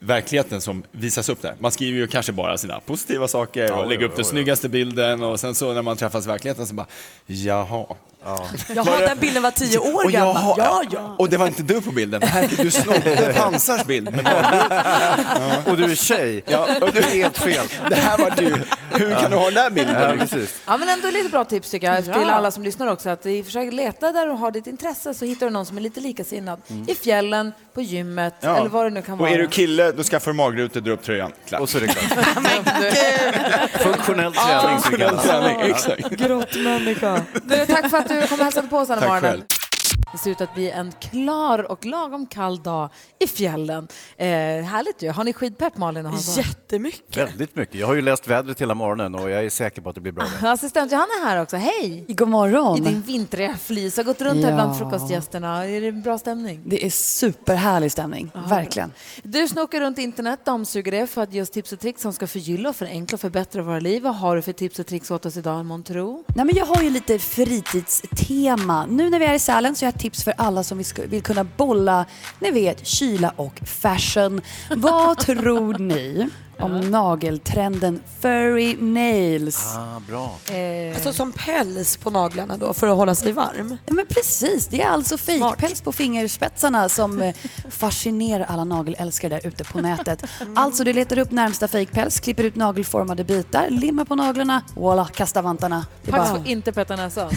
verkligheten som visas upp där. Man skriver ju kanske bara sina positiva saker och
jo,
lägger upp
jo, jo.
den snyggaste bilden och sen så när man träffas i verkligheten så bara, jaha. Ja.
Jaha, den bilden var tio år
och
gammal.
jaha,
Ja,
Och det var inte du på bilden. Herregud, Du snodde Hansars bild. Men
Och du är tjej.
Ja, och
du är helt fel.
Det här var du. Hur kan du ha den där bilden?
Ja, precis.
Ja, men ändå lite bra tips tycker jag
Ja.
till alla som lyssnar också. Att i- försök leta där du har ditt intresse så hittar du någon som är lite likasinnad.
Mm.
I fjällen, på gymmet
Ja.
eller vad det nu kan
Och
vara.
är du kille, då skaffar du magrutor, dra upp tröjan. Klart.
Och så är det klart.
Funktionell
träning, så
Funktionell
kallas det.
träning, exakt.
Grottmänniska. Du, tack för att du kom och hälsade på oss den här
Tack
morgonen.
själv.
Det ser ut att bli en klar och lagom kall dag i fjällen. Eh, härligt ju. Har ni skidpepp Malin och Hans?
Jättemycket.
Väldigt mycket. Jag har ju läst vädret hela morgonen och jag är säker på att det blir bra.
Assistent Johanna är här också. Hej!
God morgon.
I din vintriga fleece. Har gått runt här
Ja.
bland frukostgästerna. Är det bra stämning?
Det är superhärlig stämning, verkligen.
Du snokar runt internet, dammsuger det för att ge oss tips och tricks som ska förgylla, förenkla och förbättra våra liv. Vad har du för tips och tricks åt oss idag, Montro?
Nej, men jag har ju lite fritidstema. Nu när vi är i Sälen så har jag tips för alla som vill sku- vill kunna bolla, ni vet, kyla och fashion. Vad tror ni om nageltrenden furry nails?
Ah, bra.
Alltså som päls på naglarna då för att hålla sig varm.
Ja, men precis, det är alltså fejkpäls på fingerspetsarna som eh, fascinerar alla nagelälskare där ute på nätet. Alltså du letar upp närmsta fejkpäls, klipper ut nagelformade bitar, limmar på naglarna, voilà, kasta vantarna. Det är
Pax
bara-
får inte peta näsan.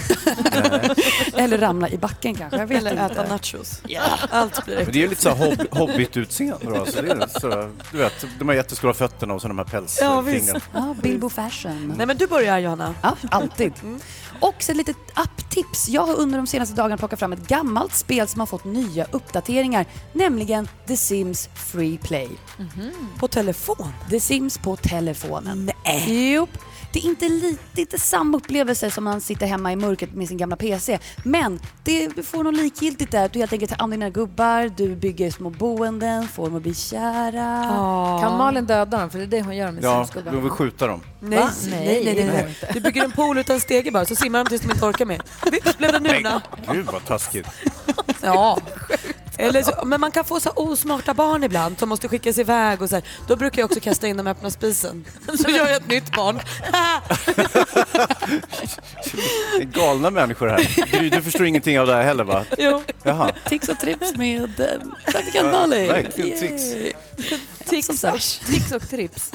Eller ramla i backen kanske, jag vet
Eller
inte.
äta
nachos. Eh. Allt blir
Men det är ju lite så här hobb hobbit-utseende. då, Alltså det är så, du vet, de här jättestora fötterna och så de här
Ja, visst.
pälsfingrarna.
Ja, Bilbo Fashion.
Nej men du börjar Johanna.
Ja, alltid. Och så ett litet apptips. Jag har under de senaste dagarna plockat fram ett gammalt spel som har fått nya uppdateringar, nämligen The Sims Free Play.
På telefon?
The Sims på telefonen. Nej. Jop. Det är inte lite, det är inte samma upplevelse som man sitter hemma i mörkret med sin gamla PC. Men det, du får något likgiltigt där. Du helt enkelt tar an dina gubbar, du bygger små boenden, får dem att bli kära.
Kan Malin döda dem? För det är det hon gör med
Ja,
Sims
de vill skjuta dem.
Nej,
Va?
nej, nej, nej, nej. Du bygger en pool utan stege bara så simmar de tills de inte orkar mer. Vips blev det nuna.
Gud vad taskigt.
Ja. Eller så, men man kan få så här osmarta barn ibland som måste skickas iväg och så här. Då brukar jag också kasta in dem i öppna spisen. Så gör jag ett nytt barn.
Det är galna människor här. Gry, du förstår ingenting av det här heller va?
Jo.
Jaha.
Tips och trips med eh,
Ja,
praktikant Malin.
verkligen tics.
Yay.
Tics, tics och trips.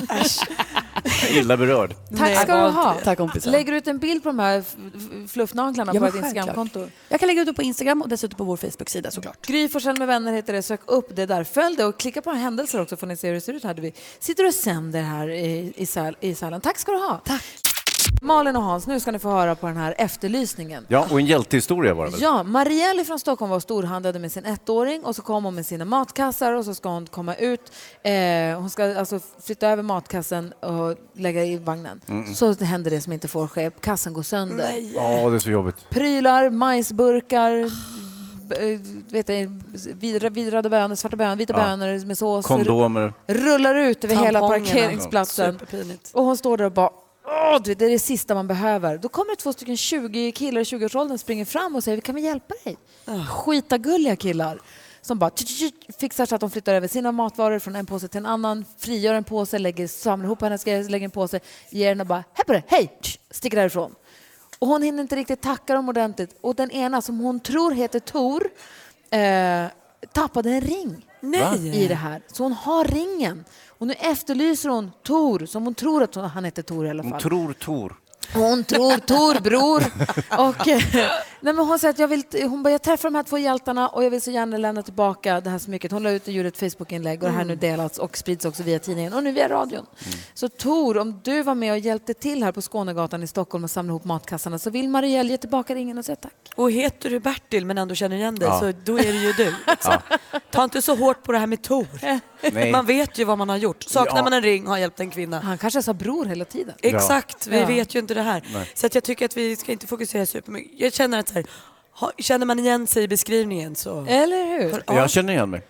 Jag är Illa berörd.
Tack ska du ha.
Tack, kompisar.
Lägger du ut en bild på de här f- f- fluffnaglarna
Ja,
på
men
ett Instagramkonto?
Jag kan lägga ut det på Instagram och dessutom på vår Facebook-sida såklart.
Gry Forssell med vänner heter det. Sök upp det där. Följ det och klicka på händelser också får ni se hur det ser ut här. Vi sitter och sänder här i, i, sal, i salen. Tack ska du ha. Tack. Malin och Hans, nu ska ni få höra på den här efterlysningen.
Ja, och en hjältehistoria var det väl?
Ja, Marielle från Stockholm var och storhandlade med sin ettåring och så kom hon med sina matkassar och så ska hon komma ut. Eh, hon ska alltså flytta över matkassen och lägga i vagnen.
Mm.
Så händer det som inte får ske. Kassen går sönder
Ja, det är så jobbigt.
prylar, majsburkar, b- eh, vet jag, vidra, vidrade bönor, svarta bönor, vita
Ja.
bönor med sås.
Kondomer.
Rullar ut över hela
Tampongerna.
parkeringsplatsen.
Superpinigt.
Och hon står där och bara Åh, du vet, det är det sista man behöver. Då kommer det två stycken 20 killar i 20-årsåldern springer fram och säger kan vi hjälpa dig? Skitagulliga killar. som bara tch, tch, tch, fixar så att de flyttar över sina matvaror från en påse till en annan, frigör en påse, lägger, samlar ihop hennes grejer, lägger en påse, ger den och bara hej på det, hej, tch, sticker därifrån. Och hon hinner inte riktigt tacka dem ordentligt. Och den ena som hon tror heter Tor eh, tappade en ring
Va?
i det här. Så hon har ringen. Och nu efterlyser hon Tor, som hon tror att hon, han heter Tor i alla fall.
Hon tror Tor.
Hon tror Tor, bror. Och, eh, nej men hon säger att jag, vill, hon bara, jag träffar de här två hjältarna och jag vill så gärna lämna tillbaka det här smycket. Hon la ut och gjorde ett Facebookinlägg och det här nu delats och sprids också via tidningen och nu via radion.
Mm.
Så Tor, om du var med och hjälpte till här på Skånegatan i Stockholm och samla ihop matkassarna så vill Marielle ge tillbaka ringen och säga tack.
Och heter du Bertil men ändå känner igen dig
Ja.
så då är det ju du. liksom. Ta inte så hårt på det här med Tor.
Nej.
Man vet ju vad man har gjort. Saknar
Ja.
man en ring har hjälpt en kvinna.
Han kanske sa bror hela tiden.
Exakt, vi
Ja.
vet ju inte det här.
Nej.
Så att jag tycker att vi ska inte fokusera supermycket. Jag känner att så här, ha- känner man igen sig i beskrivningen så...
Eller hur?
Jag känner igen mig.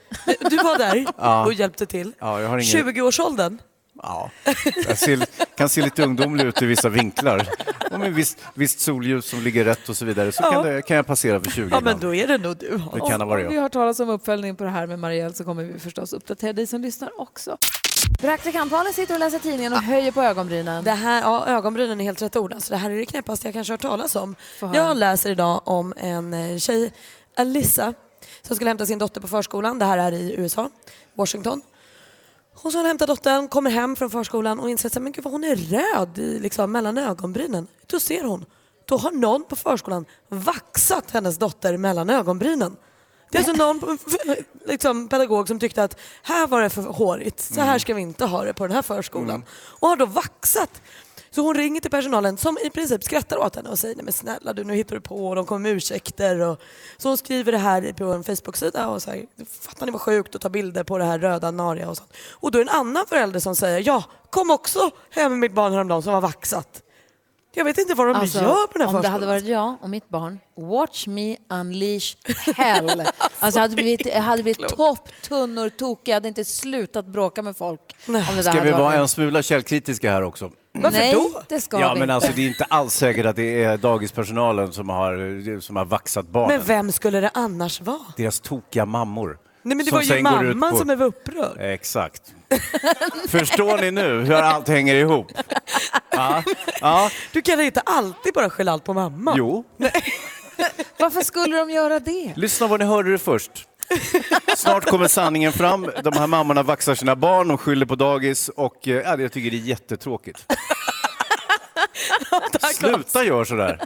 Du var där
Ja.
och hjälpte till.
Ja, jag har ingen...
20-årsåldern?
Ja. Jag ser, kan se lite ungdomlig ut i vissa vinklar. Och med visst, visst solljus som ligger rätt och så vidare så
Ja.
kan, det, kan jag passera för 20
Ja, men
ibland.
då är det nog du.
Det kan ha
Om- Om
varit jag.
vi har talas om uppföljning på det här med Marielle så kommer vi förstås uppdatera dig som lyssnar också. Praktikantbarnen sitter och läser tidningen
Ah.
och höjer på ögonbrynen.
Det här, ja, ögonbrynen är helt rätt ord. Alltså, det här är det knäppaste jag kanske har hört talas om.
Få höra.
Jag läser idag om en eh, tjej, Alissa, som skulle hämta sin dotter på förskolan. Det här är i USA, Washington. Hon som hämtar dottern kommer hem från förskolan och inser att men gud, vad hon är röd i, liksom, mellan ögonbrynen. Då ser hon, då har någon på förskolan vaxat hennes dotter mellan ögonbrynen. Det är alltså någon på- liksom, pedagog som tyckte att här var det för hårigt, så här ska vi inte ha det på den här förskolan. Och har då vaxat. Så hon ringer till personalen som i princip skrattar åt henne och säger nej men snälla du nu hittar du på och de kommer med ursäkter. Och... Så hon skriver det här på en Facebook-sida och säger fattar ni vad sjukt att ta bilder på det här röda naria och sånt. Och då är det en annan förälder som säger ja kom också hem med mitt barn häromdagen som var vaxat. Jag vet inte vad de
Alltså,
gör på den här
om det
förskolan.
hade varit jag och mitt barn, watch me unleash hell. alltså, jag hade blivit, jag hade blivit topptunnor tokig, jag hade inte slutat bråka med folk. Om det där
Ska
hade
vi
varit
vara
min-
en smula källkritiska här också?
Nej, det ska
ja,
vi
men alltså
inte.
det är inte alls säkert att det är dagispersonalen som har, som har vaxat barnen.
Men vem skulle det annars vara?
Deras tokiga mammor.
Nej men det
Som
var ju
sen går ut
mamman
på-
som blev upprörd.
Exakt. Förstår ni nu hur allt hänger ihop? Ja. Ja.
Du kan inte alltid bara skylla allt på mamma.
Jo,
Varför skulle de göra det?
lyssna vad ni hörde det först. Snart kommer sanningen fram. De här mammorna vaxar sina barn, de skyller på dagis och eh, ja, jag tycker det är jättetråkigt. Sluta gör sådär.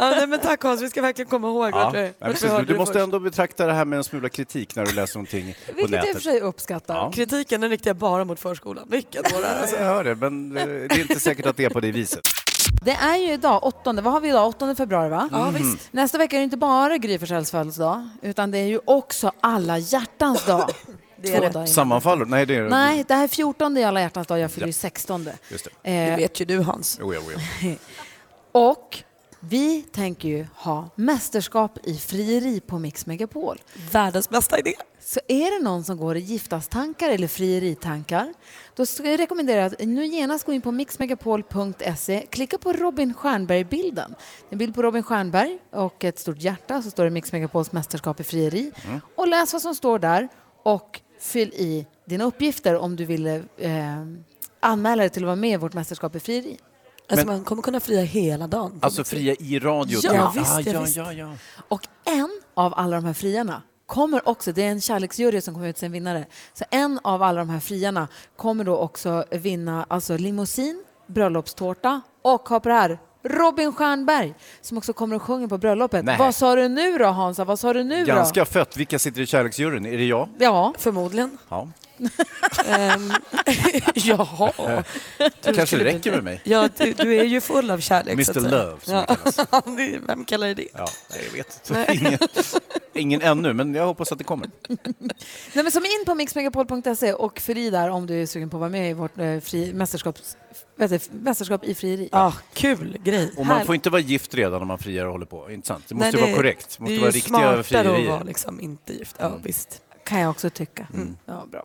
Ja, nej, men tack Hans, vi ska verkligen komma ihåg
Ja,
vart vi,
nej,
vart vi
precis.
hörde
Du
det
måste
först.
ändå betrakta det här med en smula kritik när du läser någonting på
Vilket jag i och
Vilket
för
nätet.
sig uppskattar.
Ja.
Kritiken den riktar jag bara mot förskolan. Vilken våra...
Jag hör det, men eh, det är inte säkert att det är på det viset.
Det är ju idag, 8, vad har vi idag? 8 februari va?
Ja, Mhm. visst.
Nästa vecka är det inte bara Gry Forssells födelsedag, utan det är ju också alla hjärtans dag.
Det
Två dagar innan.
Sammanfaller Nej, det är det.
Nej, det här är 14 i alla hjärtans dag, jag fyller ju
Ja.
16.
Just det.
Eh,
vet ju du Hans.
Jo, jo, jo.
Och vi tänker ju ha mästerskap i frieri på Mix Megapol.
Världens bästa idé.
Så är det någon som går i giftastankar eller frieritankar, då ska jag rekommendera att nu genast gå in på mixmegapol.se, klicka på Robin Stjernberg-bilden. Det är En bild på Robin Stjernberg och ett stort hjärta, så står det Mix Megapols mästerskap i frieri. Och läs vad som står där och fyll i dina uppgifter om du vill eh, anmäla dig till att vara med i vårt mästerskap i frieri.
Alltså man kommer kunna fria hela dagen.
Alltså fria i radio.
Ja,
till-
visst,
ah,
ja,
ja,
visst.
ja, ja.
Och en av alla de här friarna kommer också, det är en kärleksjury som kommer ut en vinnare, så en av alla de här friarna kommer då också vinna alltså limousin, bröllopstårta och ha på det här Robin Stjernberg som också kommer och sjunger på bröllopet.
Nej.
Vad sa du nu då Hansa? Vad sa du nu
Ganska
då?
fött. Vilka sitter i kärleksjuryn? Är det jag?
Ja.
Förmodligen.
Ja.
Ehm, Jaha.
Det kanske
skulle
räcker
bli-
med mig.
Ja, du, du är ju full av kärlek.
Mr.
så att säga.
Love, som
Ja.
det
Det- Vem kallar det det?
Ja, nej, jag vet inte.
Nej.
Ingen, ingen ännu, men jag hoppas att det kommer.
Nej, men som in på mixmegapol.se och fyll i där om du är sugen på att vara med i vårt eh, fri, mästerskaps, vet du, mästerskap i frieri.
Ja, Ah, kul grej.
Och man får inte vara gift redan när man friar och håller på. Inte sant? Det måste
Nej,
vara korrekt. Det måste
det är
vara
ju
riktiga
smartare att
frierier. Mm.
vara liksom inte gift. Ja, visst.
Kan jag också tycka. Ja, Mm. bra.